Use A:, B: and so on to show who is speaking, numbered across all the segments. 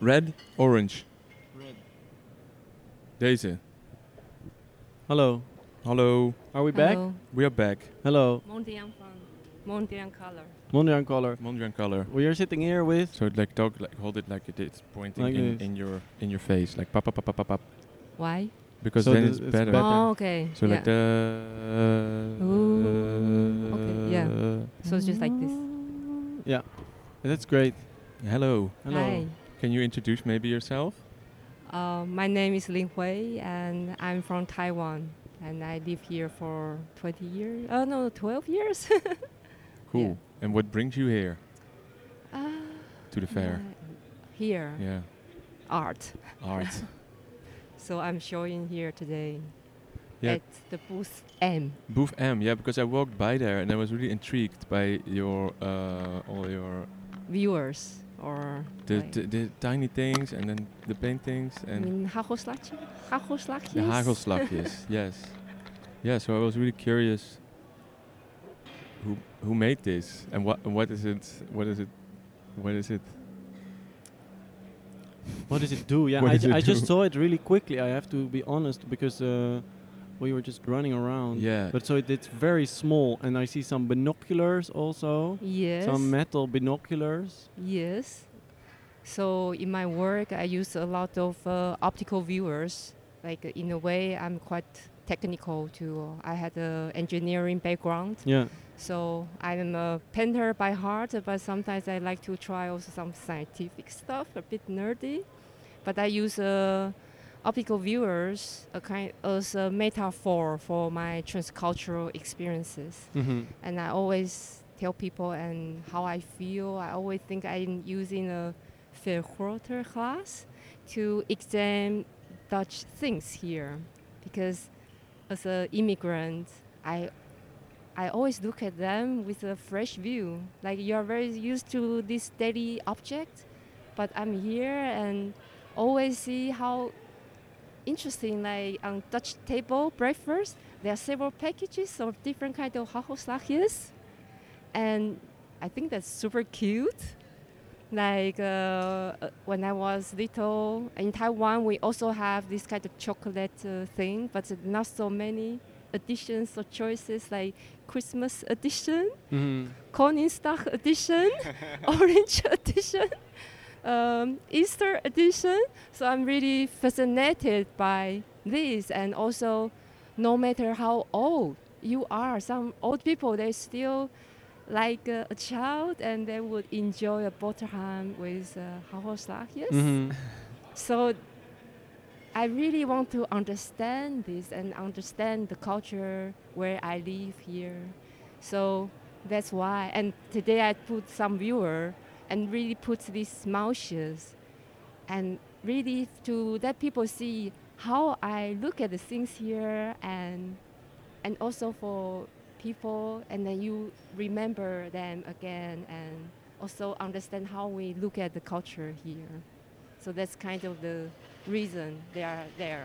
A: Red, orange.
B: Red.
A: Deze.
B: Hello.
A: Hallo,
B: Are we back?
C: Hello.
A: we are back.
B: Hello.
C: Mondrian van Mondrian Color.
B: Mondrian caller.
A: Mondrian color.
B: We are sitting here with.
A: So it like talk like hold it like it is pointing
B: Like
A: in,
B: this.
A: in your in your face like pop pop pop pop pop, pop
C: Why?
A: because
B: So
A: then
B: the-
A: it's,
B: it's
A: better.
B: better.
C: Oh, okay.
A: So
C: yeah.
A: like the
C: Ooh, okay, yeah. So it's just like this.
B: Yeah. That's great.
A: Hello.
B: Hello.
C: Hi.
A: Can you introduce maybe yourself?
C: Uh, my name is Lin Hui, and I'm from Taiwan, and I live here for 20 years. Oh no, 12 years.
A: Cool. And what brings you here
C: uh,
A: to the fair?
C: Here,
A: Yeah.
C: art.
A: Art.
C: So I'm showing here today
A: Yeah.
C: at the booth M.
A: Booth M, yeah, because I walked by there and I was really intrigued by your uh, all your
C: Viewers or
A: the,
C: like-
A: the, the tiny things and then the paintings
C: I
A: and
C: mean, hagelslakje? Hagelslakjes?
A: the hagelslakjes. yes, yeah. So I was really curious who who made this and what what is it? What is it? What is it?
B: What does it do? Yeah,
A: What
B: I,
A: does
B: ju-
A: it
B: I just
A: do?
B: saw it really quickly. I have to be honest because uh, we were just running around.
A: Yeah,
B: Um, But so it, it's very small, and I see some binoculars also,
C: Yes.
B: some metal binoculars.
C: Yes. So in my work, I use a lot of uh, optical viewers. Like uh, in a way, I'm quite technical too. I had an engineering background,
B: Yeah.
C: so I'm a painter by heart. But sometimes I like to try also some scientific stuff, a bit nerdy. But I use uh, optical viewers a kind as a metaphor for my transcultural experiences
B: Mm-hmm.
C: and I always tell people and how I feel. I always think I'm using a vergroter glass to examine Dutch things here, because as an immigrant, I I always look at them with a fresh view. Like you are very used to this daily object, but I'm here and always see how interesting. Like on Dutch table breakfast, there are several packages of different kind of hagelslagjes, and I think that's super cute. Like uh, uh, when I was little in Taiwan, we also have this kind of chocolate uh, thing, but not so many editions or choices like Christmas edition.
B: Mm-hmm.
C: Koningsdag edition, Orange edition, um, Easter edition. So I'm really fascinated by this, and also, no matter how old you are, some old people they still like uh, a child, and they would enjoy a boterham with uh, hagelslag. Yes.
B: Mm-hmm.
C: So I really want to understand this and understand the culture where I live here. So that's why. And today I put some viewer and really put these motions and really to let people see how I look at the things here and and also for people and then you remember them again and also understand how we look at the culture here. So that's kind of the reason they are there.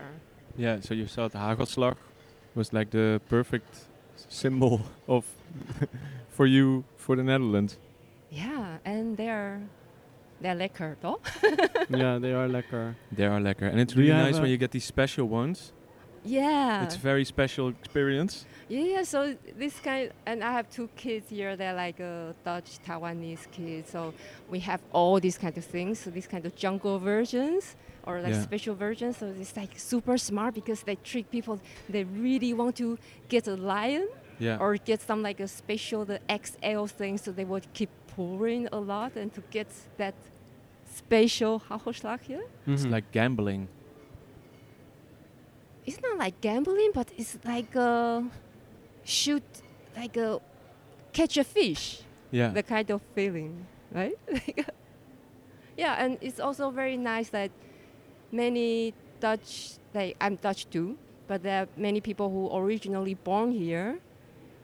A: yeah. So you saw the hagelslag was like the perfect symbol of for you for the Netherlands.
C: Yeah, and they're they're lekker, though.
B: yeah, they are lekker.
A: They are lekker, and it's
B: Do you
A: really
B: have
A: nice
B: a-
A: when you get these special ones.
C: Yeah.
A: It's very special experience.
C: yeah, yeah. So this kind, and I have two kids here. They're like uh, Dutch Taiwanese kids. So we have all these kind of things. So these kind of jungle versions or like
A: Yeah.
C: special versions. So it's like super smart because they trick people. They really want to get a lion.
A: Yeah.
C: or get some like a special the XL thing, so they would keep pouring a lot and to get that special hagelslag here.
A: It's
B: mm-hmm.
A: like gambling.
C: It's not like gambling, but it's like a shoot, like a catch a fish,
A: Yeah.
C: the kind of feeling, right? Like, yeah, and it's also very nice that many Dutch, like I'm Dutch too, but there are many people who originally born here.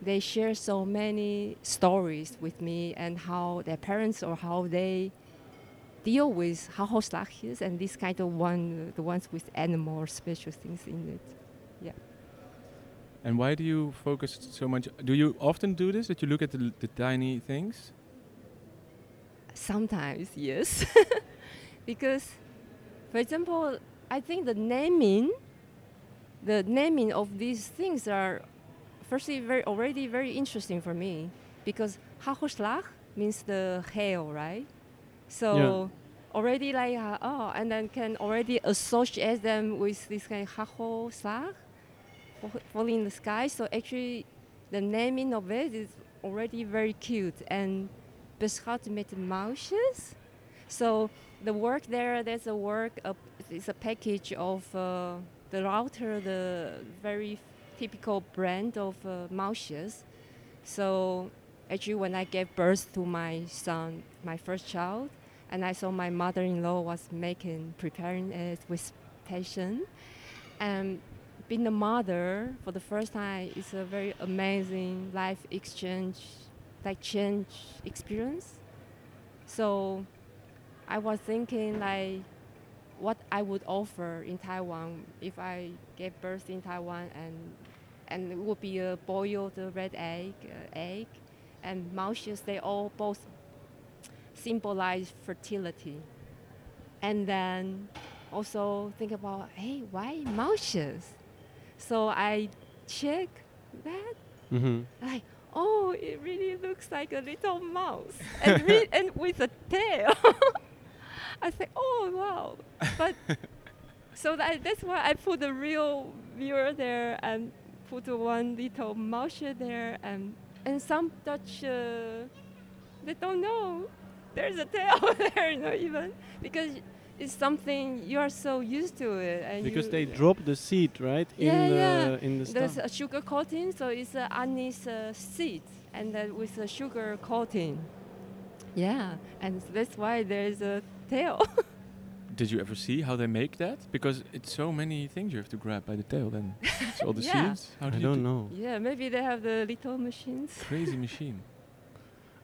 C: They share so many stories with me and how their parents or how they deal with hagelslagjes and this kind of one, the ones with animal or special things in it.
A: and why do you focus so much? Do you often do this that you look at the, l- the tiny things?
C: Sometimes, yes. because, for example, I think the naming, the naming of these things are, firstly, very already very interesting for me because Hachoschlag means the hail, right? So already like uh, oh, and then can already associate them with this kind of Hachoschlag, fall- falling in the sky. So actually, the naming of it is already very cute and beschat met mouses. So the work there, there's a work, uh, it's a package of uh, the router, the very typical brand of uh, mouses. So actually, when I gave birth to my son, my first child, and I saw my mother-in-law was making, preparing it with passion, and being a mother for the first time is a very amazing life exchange, like change experience. So I was thinking like what I would offer in Taiwan if I gave birth in Taiwan and and it would be a boiled red egg, uh, egg, and mouses. They all both symbolize fertility, and then also think about hey, why mouses? So I check that
B: Mm-hmm.
C: like oh it really looks like a little mouse and, re- and with a tail i say oh wow but so that, that's why i put the real viewer there and put the one little mouse there and and some dutch uh, they don't know there's a tail there you know even because it's something you are so used to it and
B: Because
C: you-
B: they drop the seed right
C: Yeah,
B: in
C: yeah.
B: the in the
C: there's
B: stuff.
C: a sugar coating, so it's a anise uh, seed, and then with a sugar coating. Yeah, and that's why there's a tail.
A: Did you ever see how they make that? Because it's so many things you have to grab by the tail. Then it's all the
C: Yeah.
A: seeds. How do
B: I
A: you
B: don't
A: do-
B: know.
C: yeah, maybe they have the little machines.
A: Crazy machine.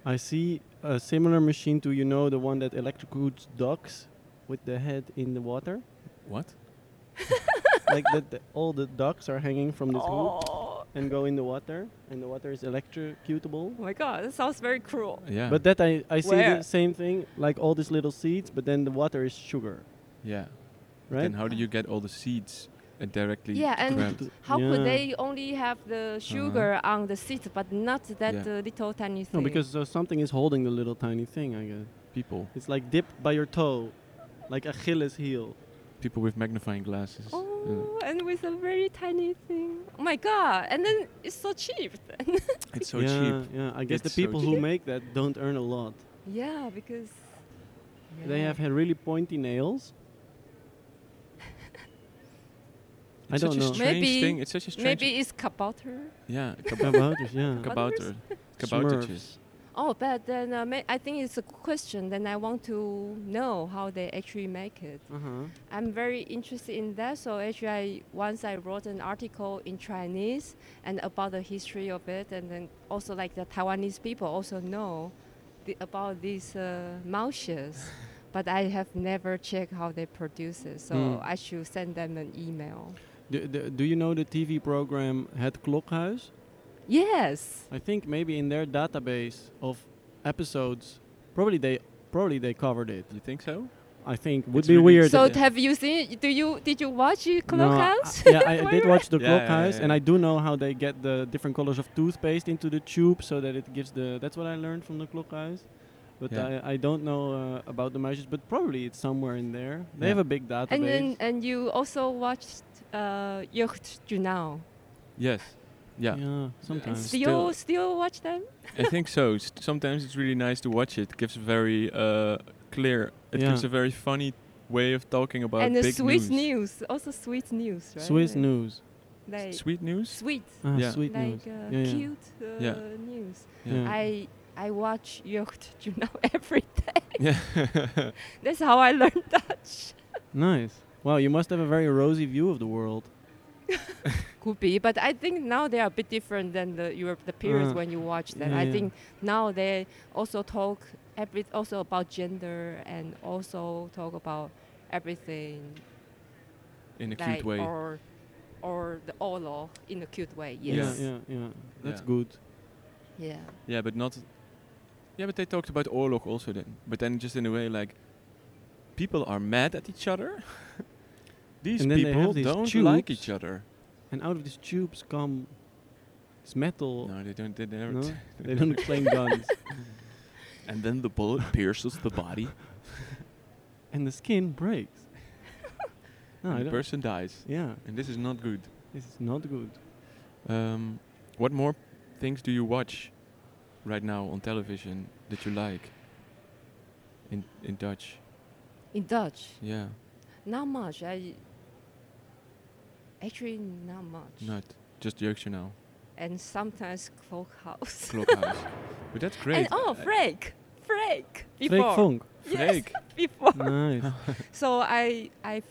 B: I see a similar machine to you know the one that electrocutes ducks with the head in the water.
A: What?
B: like that the, all the ducks are hanging from this hoop
C: Oh
B: and go in the water and the water is electrocutable.
C: my god, that sounds very cruel.
A: Yeah.
B: But that I, I see
C: Where?
B: the same thing, like all these little seeds, but then the water is sugar,
A: yeah.
B: right?
A: Then how do you get all the seeds uh, directly?
C: Yeah, and
A: grabbed?
C: How could
B: Yeah. Uh-huh.
C: they only have the sugar on the seed, but not that
A: Yeah.
C: uh, little tiny
B: No,
C: thing?
B: because uh, something is holding the little tiny thing, I guess.
A: people,
B: It's like dipped by your toe, like Achilles heel.
A: people with magnifying glasses. Yeah.
C: oh, and with a very tiny thing. Oh my god! And then it's so cheap.
A: It's so
B: yeah,
A: cheap.
B: yeah. I guess
A: It's so
B: the people who
A: cheap.
B: make that don't earn a lot.
C: yeah, because
B: They
C: Yeah.
B: have had really pointy nails. I
A: It's
B: don't
A: such
B: know.
A: a strange
C: Maybe-
A: thing. It's such a strange.
C: Maybe it's kabouter.
A: Yeah. Kabouter.
B: Kabouters, yeah.
A: Kabouter.
B: Smurfs.
A: Kaboutertjes.
C: Oh, but then uh, ma- I think it's a good question. Then I want to know how they actually make it.
B: Uh-huh.
C: I'm very interested in that. So actually, I, once I wrote an article in Chinese and about the history of it, and then also like the Taiwanese people also know the, about these uh, mouses. But I have never checked how they produce it, so
B: Mm.
C: I should send them an email.
B: Do, do, do you know the TV program Het Klokhuis?
C: Yes.
B: I think maybe in their database of episodes, probably they probably they covered it.
A: You think so?
B: I think would
A: It's
B: be
A: really-
B: weird.
C: So
B: if-
C: have you seen? Do you did you watch uh,
B: No, I-
C: Clockhouse?
B: yeah, I I did watch the
A: Yeah,
B: Clockhouse,
A: yeah, yeah,
B: and
A: yeah.
B: I do know how they get the different colors of toothpaste into the tube so that it gives the. That's what I learned from the Clockhouse, but
A: Yeah.
B: I, I don't know uh, about the measures, but probably it's somewhere in there. They
A: Yeah.
B: have a big database.
C: And then, uh, and you also watched uh, Yacht Junao.
B: Ah,
A: Yes. Yeah.
B: yeah,
C: And
B: sometimes.
C: still, still watch them.
A: I think so. S- sometimes it's really nice to watch it. It gives a very uh, clear. It
B: Yeah.
A: gives a very funny way of talking about
C: and the
A: big
C: Swiss
A: news.
C: news. also Swiss news, right?
B: Swiss
C: Like-
B: news.
C: like
A: Sweet news.
C: sweet,
B: Ah,
A: Yeah.
B: Sweet news.
C: like uh,
B: Yeah, yeah.
C: cute uh,
A: Yeah.
C: news.
B: Yeah.
C: I I watch Yacht Junao every day.
A: Yeah.
C: That's how I learned Dutch.
B: Nice. Wow, you must have a very rosy view of the world.
C: Could be, but I think now they are a bit different than the Europe the periods
B: Ah.
C: when you watch them.
B: Yeah,
C: I
B: yeah.
C: think now they also talk every also about gender and also talk about everything
A: In a
C: like
A: cute way.
C: or or the olo in a cute way.
A: Yeah.
C: Yes.
B: Yeah, yeah, yeah. That's
A: Yeah.
B: good.
C: Yeah.
A: Yeah, but not. Yeah, but they talked about oorlog also then. But then just in a way like people are mad at each other. these
B: And then they
A: people
B: have these
A: don't like
B: tubes.
A: each other.
B: And out of these tubes come it's metal.
A: No, they don't. They never.
B: No?
A: t-
B: They don't explain guns.
A: and then the bullet pierces the body.
B: And the skin breaks. no, I
A: and the
B: don't-
A: person dies,
B: Yeah,
A: and this is not good.
B: this is not good.
A: Um, what more things do you watch right now on television that you like? In in Dutch,
C: In Dutch,
A: yeah,
C: not much. I actually not much.
A: not just Jeugdjournaal,
C: And sometimes Clockhouse.
A: Klokhuis. but that's great.
C: And oh,
A: I-
C: Frank, Frank. Before.
B: Fake funk.
C: Yes,
A: Uh, Freek.
C: before.
B: nice.
C: So I I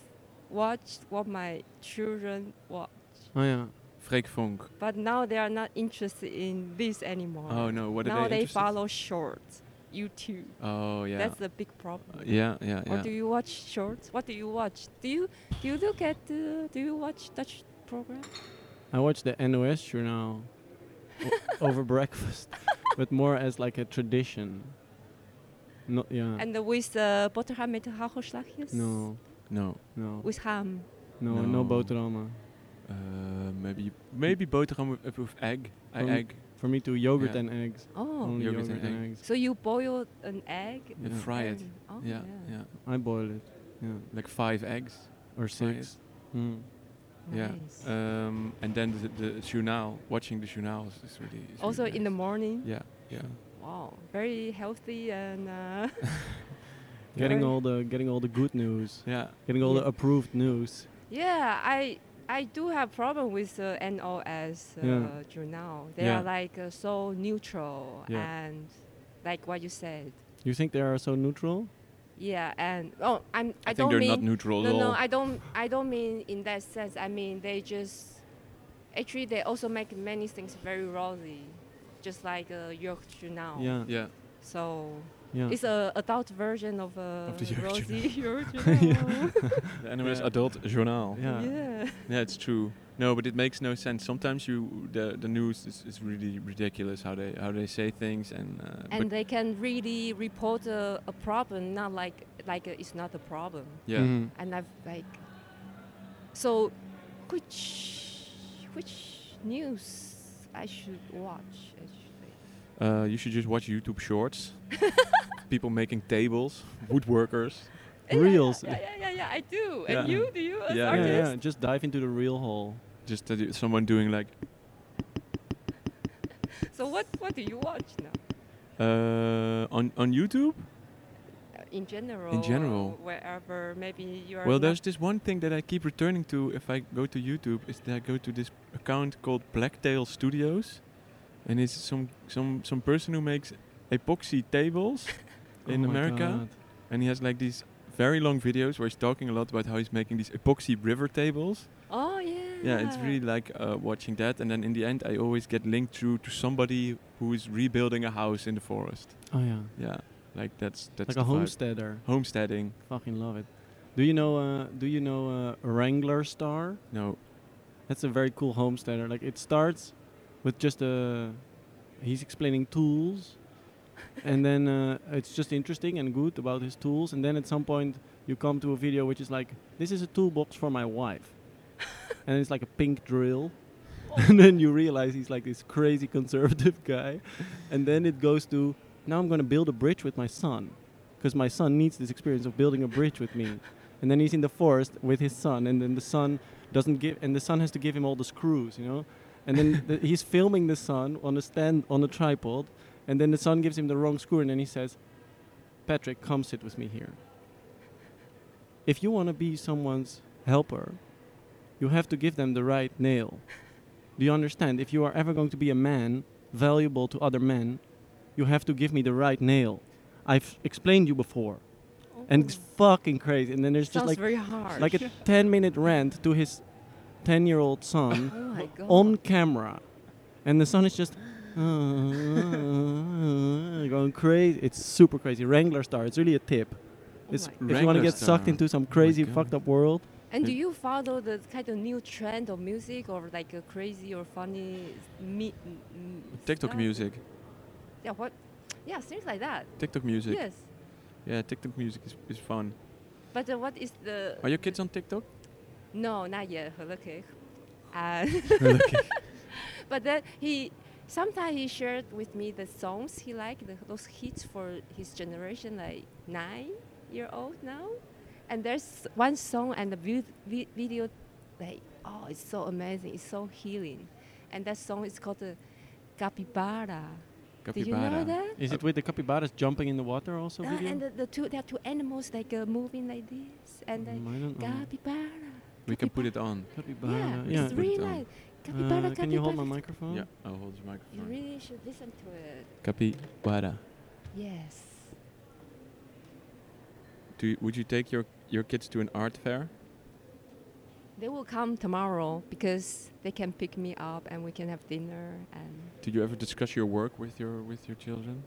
C: watched what my children watch,
B: Oh yeah.
A: Freek Vonk.
C: but now they are not interested in this anymore.
A: Oh no, what
C: now
A: are they?
C: they
A: interested?
C: follow shorts, YouTube.
A: Oh yeah.
C: That's the big problem.
A: Uh, yeah, yeah,
C: Or
A: yeah.
C: do you watch shorts? What do you watch? Do you do you look at uh, do you watch Dutch program?
B: I watched the NOS journal o- over breakfast, but more as like a tradition. No, yeah.
C: And uh, with uh, boterham met hagelslagjes?
B: no,
A: no.
B: no,
C: With ham.
B: no, no,
A: No.
B: boterhammen.
A: Uh, maybe maybe boterham with, uh, with egg. I
B: Um,
A: egg.
B: For me too, yogurt
A: Yeah.
B: and eggs.
C: Oh.
B: Only
A: Yogurt
B: yogurt,
A: and
B: and, eggs.
C: So you boil an egg?
A: And
B: Yeah.
A: fry it.
C: and- Oh,
A: yeah,
C: yeah.
A: yeah.
B: I boil it. Yeah.
A: Like five eggs. Fry
B: Or six. Mm.
C: Nice.
A: Yeah. Um, and then the, the journaal, watching the journaal is, is really. is
C: also
A: really
C: in the
A: nice.
C: morning.
A: Yeah, yeah.
C: Wow, very healthy and uh,
B: Getting
C: Right.
B: all the getting all the good news.
A: Yeah.
B: Getting all
C: Yeah.
B: the approved news.
C: yeah. I I do have problem with uh, the NOS uh,
B: Yeah.
C: journal. They
A: Yeah.
C: are like uh, so neutral
A: Yeah.
C: and like what you said.
B: You think they are so neutral?
C: Yeah, and oh, I'm I,
A: I, think
C: don't
A: they're
C: mean
A: not neutral at all.
C: no no I don't I don't mean in that sense. I mean they just actually they also make many things very rosy, just like uh, your journal.
B: Yeah.
A: yeah.
C: So
B: Yeah.
C: it's a adult version of, uh,
A: the your
C: rosy your journal.
A: The NOS
B: Yeah.
A: adult journaal.
B: Yeah.
C: yeah.
A: Yeah, it's true. No, but it makes no sense. Sometimes you the the news is, is really ridiculous how they how they say things and uh,
C: and
A: but
C: they can really report a, a problem, not like like uh, it's not a problem.
A: yeah.
B: Mhm.
C: And I've like, so which which news I should watch actually?
A: Uh, you should just watch YouTube Shorts. People making tables, woodworkers.
C: Eh, yeah,
B: Reels.
C: Yeah, yeah, yeah, yeah, yeah, I do.
A: Yeah.
C: And you do you as
A: Yeah,
B: Yeah,
C: artist?
B: yeah, Just dive into the real hole.
A: Just that you- someone doing like,
C: So what what do you watch now?
A: uh, on on YouTube.
C: Uh, In general.
A: general.
C: or wherever maybe you are.
A: Well,
C: not-
A: there's this one thing that I keep returning to if I go to YouTube is that I go to this account called Blacktail Studios, and it's some some some person who makes epoxy tables in
B: Oh my
A: America.
B: God.
A: and he has like these very long videos where he's talking a lot about how he's making these epoxy river tables.
C: Oh yeah.
A: Yeah, it's really like uh, watching that, and then in the end, I always get linked through to somebody who is rebuilding a house in the forest.
B: Oh yeah.
A: Yeah, like that's that's
B: Like
A: the
B: a
A: vibe.
B: homesteader.
A: homesteading.
B: Fucking love it. Do you know? Uh, do you know uh, Wrangler Star?
A: No,
B: That's a very cool homesteader. Like it starts with just a. He's explaining tools, and then uh, it's just interesting and good about his tools. And then at some point you come to a video which is like, "This is a toolbox for my wife," and it's like a pink drill. and then you realize he's like this crazy conservative guy, and then it goes to, "Now I'm going to build a bridge with my son, because my son needs this experience of building a bridge with me." And then he's in the forest with his son, and then the son doesn't give, and the son has to give him all the screws, you know. And then the, he's filming the son on a stand on a tripod, and then the son gives him the wrong screw, and then he says, "Patrick, come sit with me here. If you want to be someone's helper, you have to give them the right nail. Do you understand? If you are ever going to be a man valuable to other men, you have to give me the right nail. I've explained you before, and it's fucking crazy. And then there's
C: Oh. sounds
B: just like
C: very hard.
B: like a 10 minute rant to his 10 year old son
C: oh my god.
B: on camera. And the son is just going crazy. It's super crazy. Wrangler Star, it's really a tip.
C: Oh
B: It's,
C: my
B: if you want
A: Wrangler
B: to get sucked
A: Star.
B: into some crazy
A: God.
B: fucked up world,
C: And
A: Uh,
C: do you follow the kind of new trend of music or like a crazy or funny me- m- m-
A: TikTok
C: stuff?
A: music,
C: Yeah, what? Yeah, things like that.
A: TikTok music.
C: Yes.
A: Yeah, TikTok music is, is fun.
C: But uh, what is the?
A: Are your kids on TikTok?
C: No, not yet. Gelukkig. Uh,
A: Gelukkig.
C: but then he sometimes he shared with me the songs he liked, the, those hits for his generation, like nine year old now. And there's one song and the vi- vi- video, like oh, it's so amazing, it's so healing. And that song is called uh, Capybara. Did you know
A: Capybara.
C: that? Oh.
B: Is it with the capybaras jumping in the water also?
C: Uh,
B: video?
C: and the, the two, there are two animals like uh, moving like this, and like
B: Mm, I don't know.
C: capybara.
A: We can put it on.
B: Capybara.
C: yeah,
B: Yeah.
C: it's
A: Put it
C: really
A: on.
C: nice.
B: Uh,
C: Capybara,
B: can you hold my
C: capybara.
B: microphone?
A: Yeah, I'll hold the
C: You
A: microphone.
C: really should listen to it.
A: Capybara.
C: Yes.
A: Do you, would you take your, your kids to an art fair?
C: They will come tomorrow because they can pick me up and we can have dinner and
A: Did you ever discuss your work with your with your children?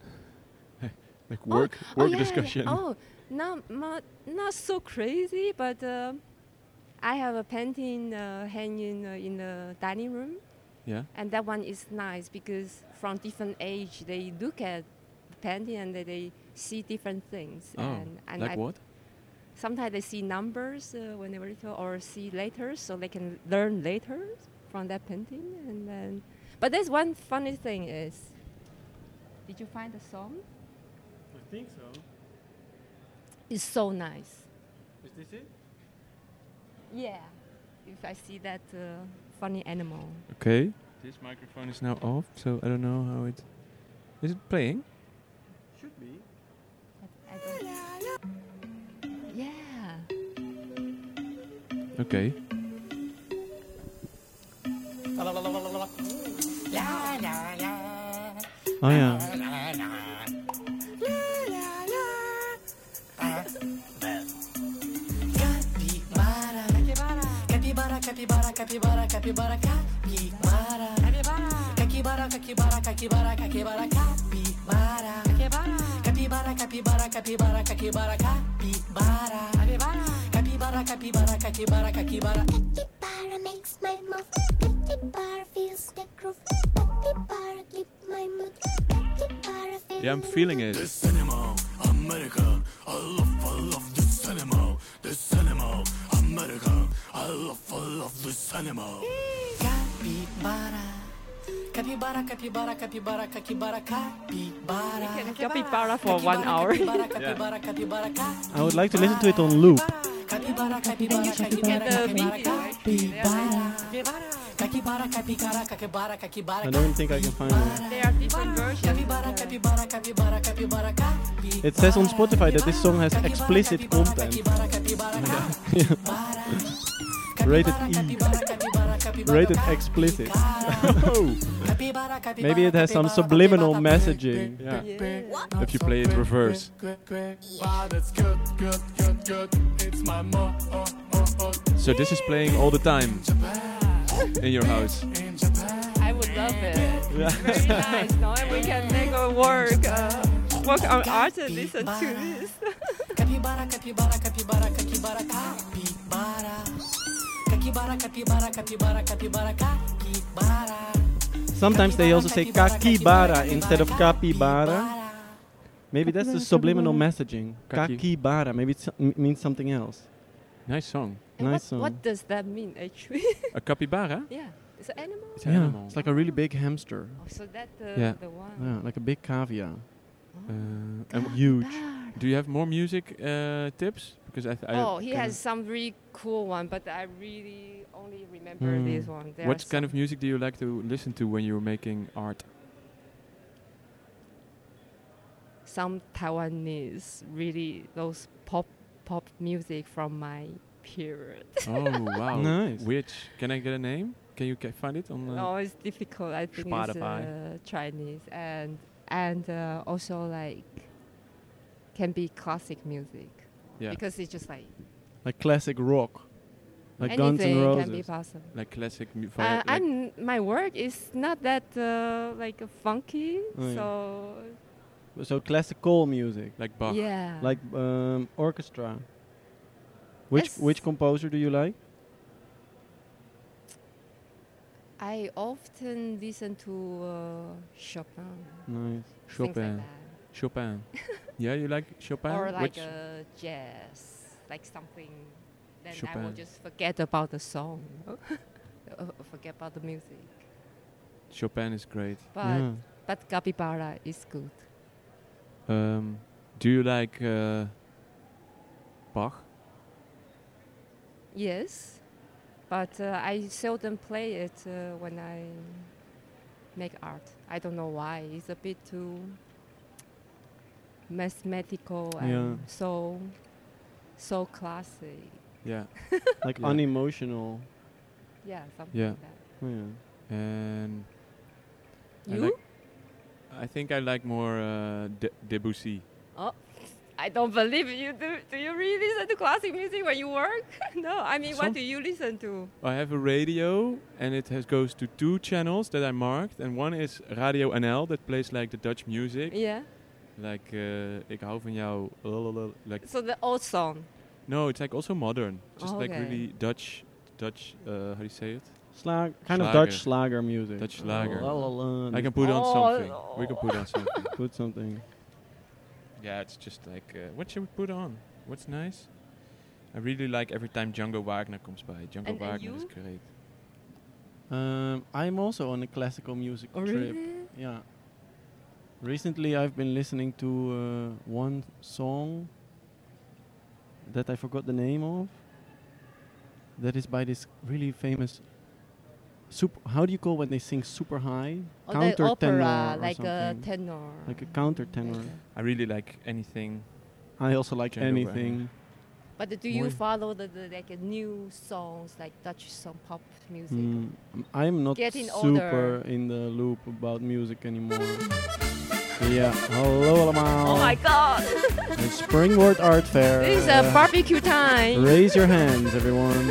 A: like
C: Oh,
A: work
C: oh,
A: work
C: yeah, yeah.
A: discussion.
C: Oh, not mu- not so crazy, but uh, I have a painting uh, hanging uh, in the dining room.
A: Yeah.
C: and that one is nice because from different age they look at the painting and they- they see different things
A: Oh,
C: and, and
A: like
C: I-
A: what?
C: sometimes they see numbers uh, when they were little or see letters so they can learn letters from that painting and then but there's one funny thing is did you find the song
B: I think so.
C: it's so nice
B: Is this it?
C: yeah if i see that uh, funny animal
A: Okay. This microphone is now off, so I don't know how it is it playing?
B: Should be.
C: I don't yeah
A: Okay.
B: Oh yeah.
D: Capybara, capybara, capybara, capybara, capybara, capybara. Capybara, capybara, capybara, capybara, capybara. Capybara, capybara, capybara, capybara, capybara. Capybara, capybara, capybara, capybara.
E: Petit bar makes my mouth. Petit bar feels the groove. Petit bar keep my mood. Petit bar
A: Yeah, I'm feeling it.
D: Capybara. Capybara, capybara, capybara, capybara, capybara.
C: can capybara for one hour.
D: Capybara, capybara, capybara, capybara.
B: I would like to listen to it on loop.
D: Capybara, capybara,
C: get
D: capybara,
C: the
D: capybara,
C: video right?
D: capybara. Capybara, capybara, capybara, capybara,
B: I don't think I can find it.
C: there are different versions
D: Capybara, capybara, capybara, capybara, capybara.
B: It says on Spotify that this song has explicit content.
D: Capybara, capybara,
B: Rated
D: capybara,
B: E.
D: capybara, capybara,
B: Rated explicit.
A: Oh.
D: capybara, capybara,
B: Maybe it has some subliminal messaging.
A: Yeah.
C: yeah.
A: If you play it reverse. So this is playing all the time in your house.
C: I would love it. It's very nice. Now we can make a work, uh, work on art and listen to this.
D: Capybara, capybara, capybara, capybara, capybara. Capybara, capybara, capybara, capybara, capybara.
B: Sometimes they also say kakibara instead of capybara. Maybe that's the subliminal messaging.
A: Kaki.
B: Kakibara. Maybe it means something else.
A: Nice song.
C: And
B: Nice
C: what,
B: song.
C: what does that mean actually?
A: A capybara?
C: yeah, it's an animal.
A: It's an
B: Yeah,
A: animal.
B: it's like a really big hamster.
C: Oh, so that uh,
A: Yeah.
C: the one.
B: Yeah, like a big caviar.
A: Uh, and
B: Huge.
C: Ah.
A: do you have more music uh, tips? Because I, th- I
C: Oh, he
A: kinda-
C: has some really cool one, but I really only remember
B: Hmm.
C: this one. There
A: What
C: are
A: kind
C: some-
A: of music do you like to listen to when you're making art?
C: some Taiwanese really those pop pop music from my period?
A: oh wow!
B: Nice.
A: Which can I get a name? Can you ca- find it on? Uh,
C: No, Oh, it's difficult. I think it's
A: Spotify.
C: uh, Chinese and and uh, also like can be classic music
A: Yeah,
C: because it's just like
B: Like classic rock. Like Guns
C: anything
B: N'
C: can be
B: Roses.
C: possible.
A: like classic. Mu-
C: Uh,
A: vi- like-
C: I'm my work is not that uh, like funky,
B: Oh, yeah.
C: so
B: So classical music.
A: like Bach.
C: yeah,
B: Like um, orchestra. Which
C: Yes.
B: which composer do you like?
C: I often listen to uh, Chopin,
B: Nice.
C: things like
A: Chopin.
C: that.
A: Chopin. yeah, you like Chopin.
C: or like
A: Which-
C: uh, jazz. like something, then I will
A: Chopin.
C: just forget about the song, you know? Uh, forget about the music.
A: Chopin is great.
C: But
B: yeah.
C: but capybara is good.
A: Um, do you like uh, Bach?
C: Yes, but uh, I seldom play it uh, when I make art. I don't know why. It's a bit too mathematical and
B: Yeah.
C: so so classy.
A: Yeah.
B: like
A: Yeah.
B: unemotional.
C: Yeah, something
A: Yeah.
C: like that.
B: Yeah.
A: And I
C: You?
A: like- I think I like more uh, De- Debussy.
C: oh, I don't believe you. Do, do you really listen to classic music when you work? no, I mean,
A: Some-
C: what do you listen to?
A: I have a radio, and it has goes to two channels that I marked, and one is Radio NL that plays like the Dutch music,
C: Yeah.
A: like uh, Ik hou van jou, lalalala, like
C: So the old song.
A: no, it's like also modern, just like
C: Oh, Okay.
A: really Dutch, Dutch. Uh, how do you say it?
B: Slag, kind of
A: Slager.
B: Dutch slager music.
A: Dutch slager.
B: Oh, La, la, la,
A: I can put on
C: Oh,
A: something. We
C: no.
A: can put on something.
B: put something.
A: Yeah, it's just like, uh, what should we put on? What's nice? I really like every time Django Wagner comes by. Django
C: And- and
A: Wagner is
C: you?
A: great.
B: Um, I'm also on a classical music
C: Oh,
B: trip.
C: really?
B: Yeah. Recently, I've been listening to uh, one song that I forgot the name of. That is by this really famous. Super, how do you call when they sing super high?
C: Or Oh, the
B: Countertenor
C: opera,
B: or
C: like uh, a
B: something.
C: tenor. uh,
B: Like a countertenor.
C: Okay.
A: I really like anything.
B: I also like
A: Django
B: anything.
C: But do you
A: Mooi.
C: follow the, the like uh, new songs like Dutch song pop music?
B: Mm, I'm not
C: Getting
B: super
C: older.
B: in the loop about music anymore. yeah, hallo allemaal.
C: Oh my god!
B: Het Springboard Art Fair.
C: this is a
B: Eh,
C: barbecue time.
B: Raise your hands, everyone.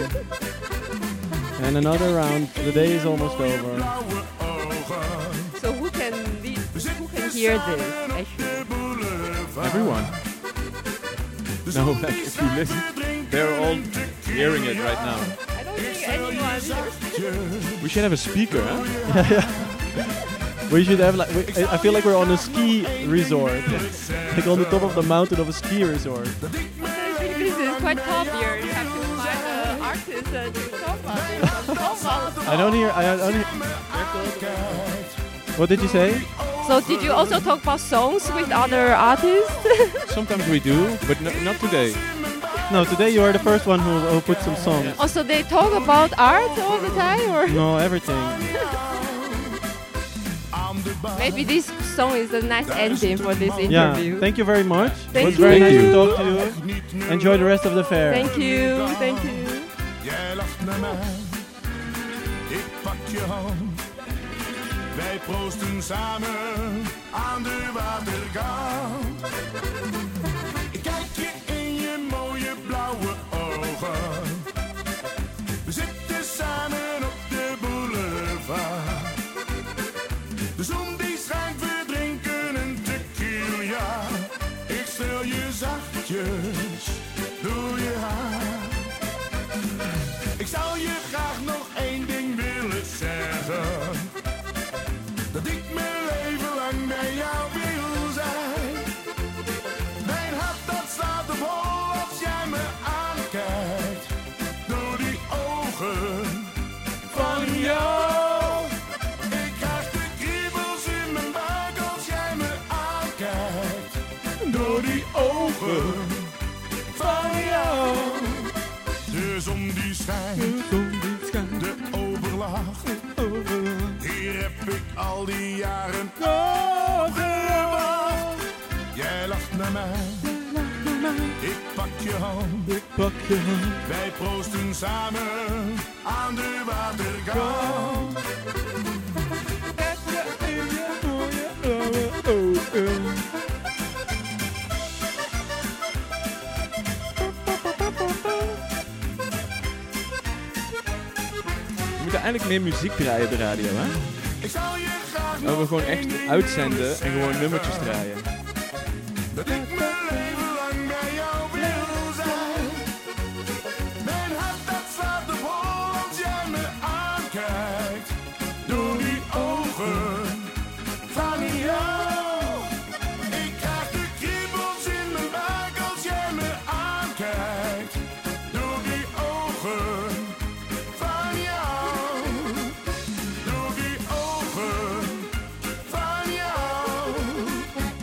B: And another round. The day is almost over.
F: Blauwe ogen.
C: So who can lead,
F: We
C: who
F: zitten
C: can hear
F: samen
C: this?
F: op de
C: Actually,
F: boulevard.
A: Everyone. No,
F: De zon
A: like,
F: die
A: if you listen,
F: staat te drinken
A: They're all
F: en te
A: hearing it right
F: keren.
A: now.
C: I don't think
F: Wil je
C: anyone.
F: zachtje
A: We should have a speaker, huh?
B: We should have like. We, I I feel like we're on a ski resort.
F: dit zeggen?
B: Like on the top of the mountain of a ski resort.
F: Dat ik me
C: I think this is quite tough here. You have to find an artist uh, to talk about this. Talk about
B: I don't hear. I don't hear.
F: aankijkt.
B: What did you say?
C: So did you also talk about songs with other artists?
A: Sometimes we do, but no, not today.
B: No, today you are the first one who, who put some songs.
C: also they talk about art all the time or?
B: No, everything.
F: Aan de bar.
C: Maybe this song is a nice ending for this
B: Yeah.
C: interview.
B: Thank you very much.
C: Thank
B: it was very
C: you.
B: nice to talk to you.
F: Niet meer
B: Enjoy the rest of the fair.
C: Thank you. Thank you.
F: Jij lacht naar mij, ik pak je hand. Wij proosten samen aan de waterkant. Ik kijk je in je mooie blauwe ogen. We zitten samen op de boulevard. De zon die schijnt, we drinken een tequila. Ik streel je zachtjes door je haar. Ik zou je graag nog één ding willen zeggen. Dat ik mijn leven lang bij jou wil zijn. Mijn hart dat staat op hol als jij me aankijkt. Door die ogen van jou. Ik krijg de kriebels in mijn buik als jij me aankijkt. Door die ogen van jou. De zon die schijnt, de overlacht. Hier heb ik al die jaren op gewacht. Jij lacht naar mij, ik pak je hand. Wij proosten samen aan de waterkant.
A: We moeten eigenlijk meer muziek draaien op de radio, hè?
F: Ik zou je graag
A: Dat
F: nog
A: we gewoon
F: één
A: echt
F: ding
A: uitzenden
F: willen
A: en gewoon
F: zeggen.
A: nummertjes draaien.
F: Dat ik mijn leven lang bij jou wil zijn. Mijn hart dat slaat op hol als jij me aankijkt. Door die ogen van jou. Ik krijg de kriebels in mijn buik als jij me aankijkt.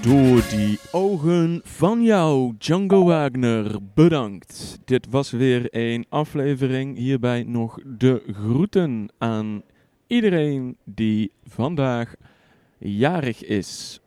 A: Door die ogen van jou, Django Wagner, bedankt. Dit was weer een aflevering. Hierbij nog de groeten aan iedereen die vandaag jarig is.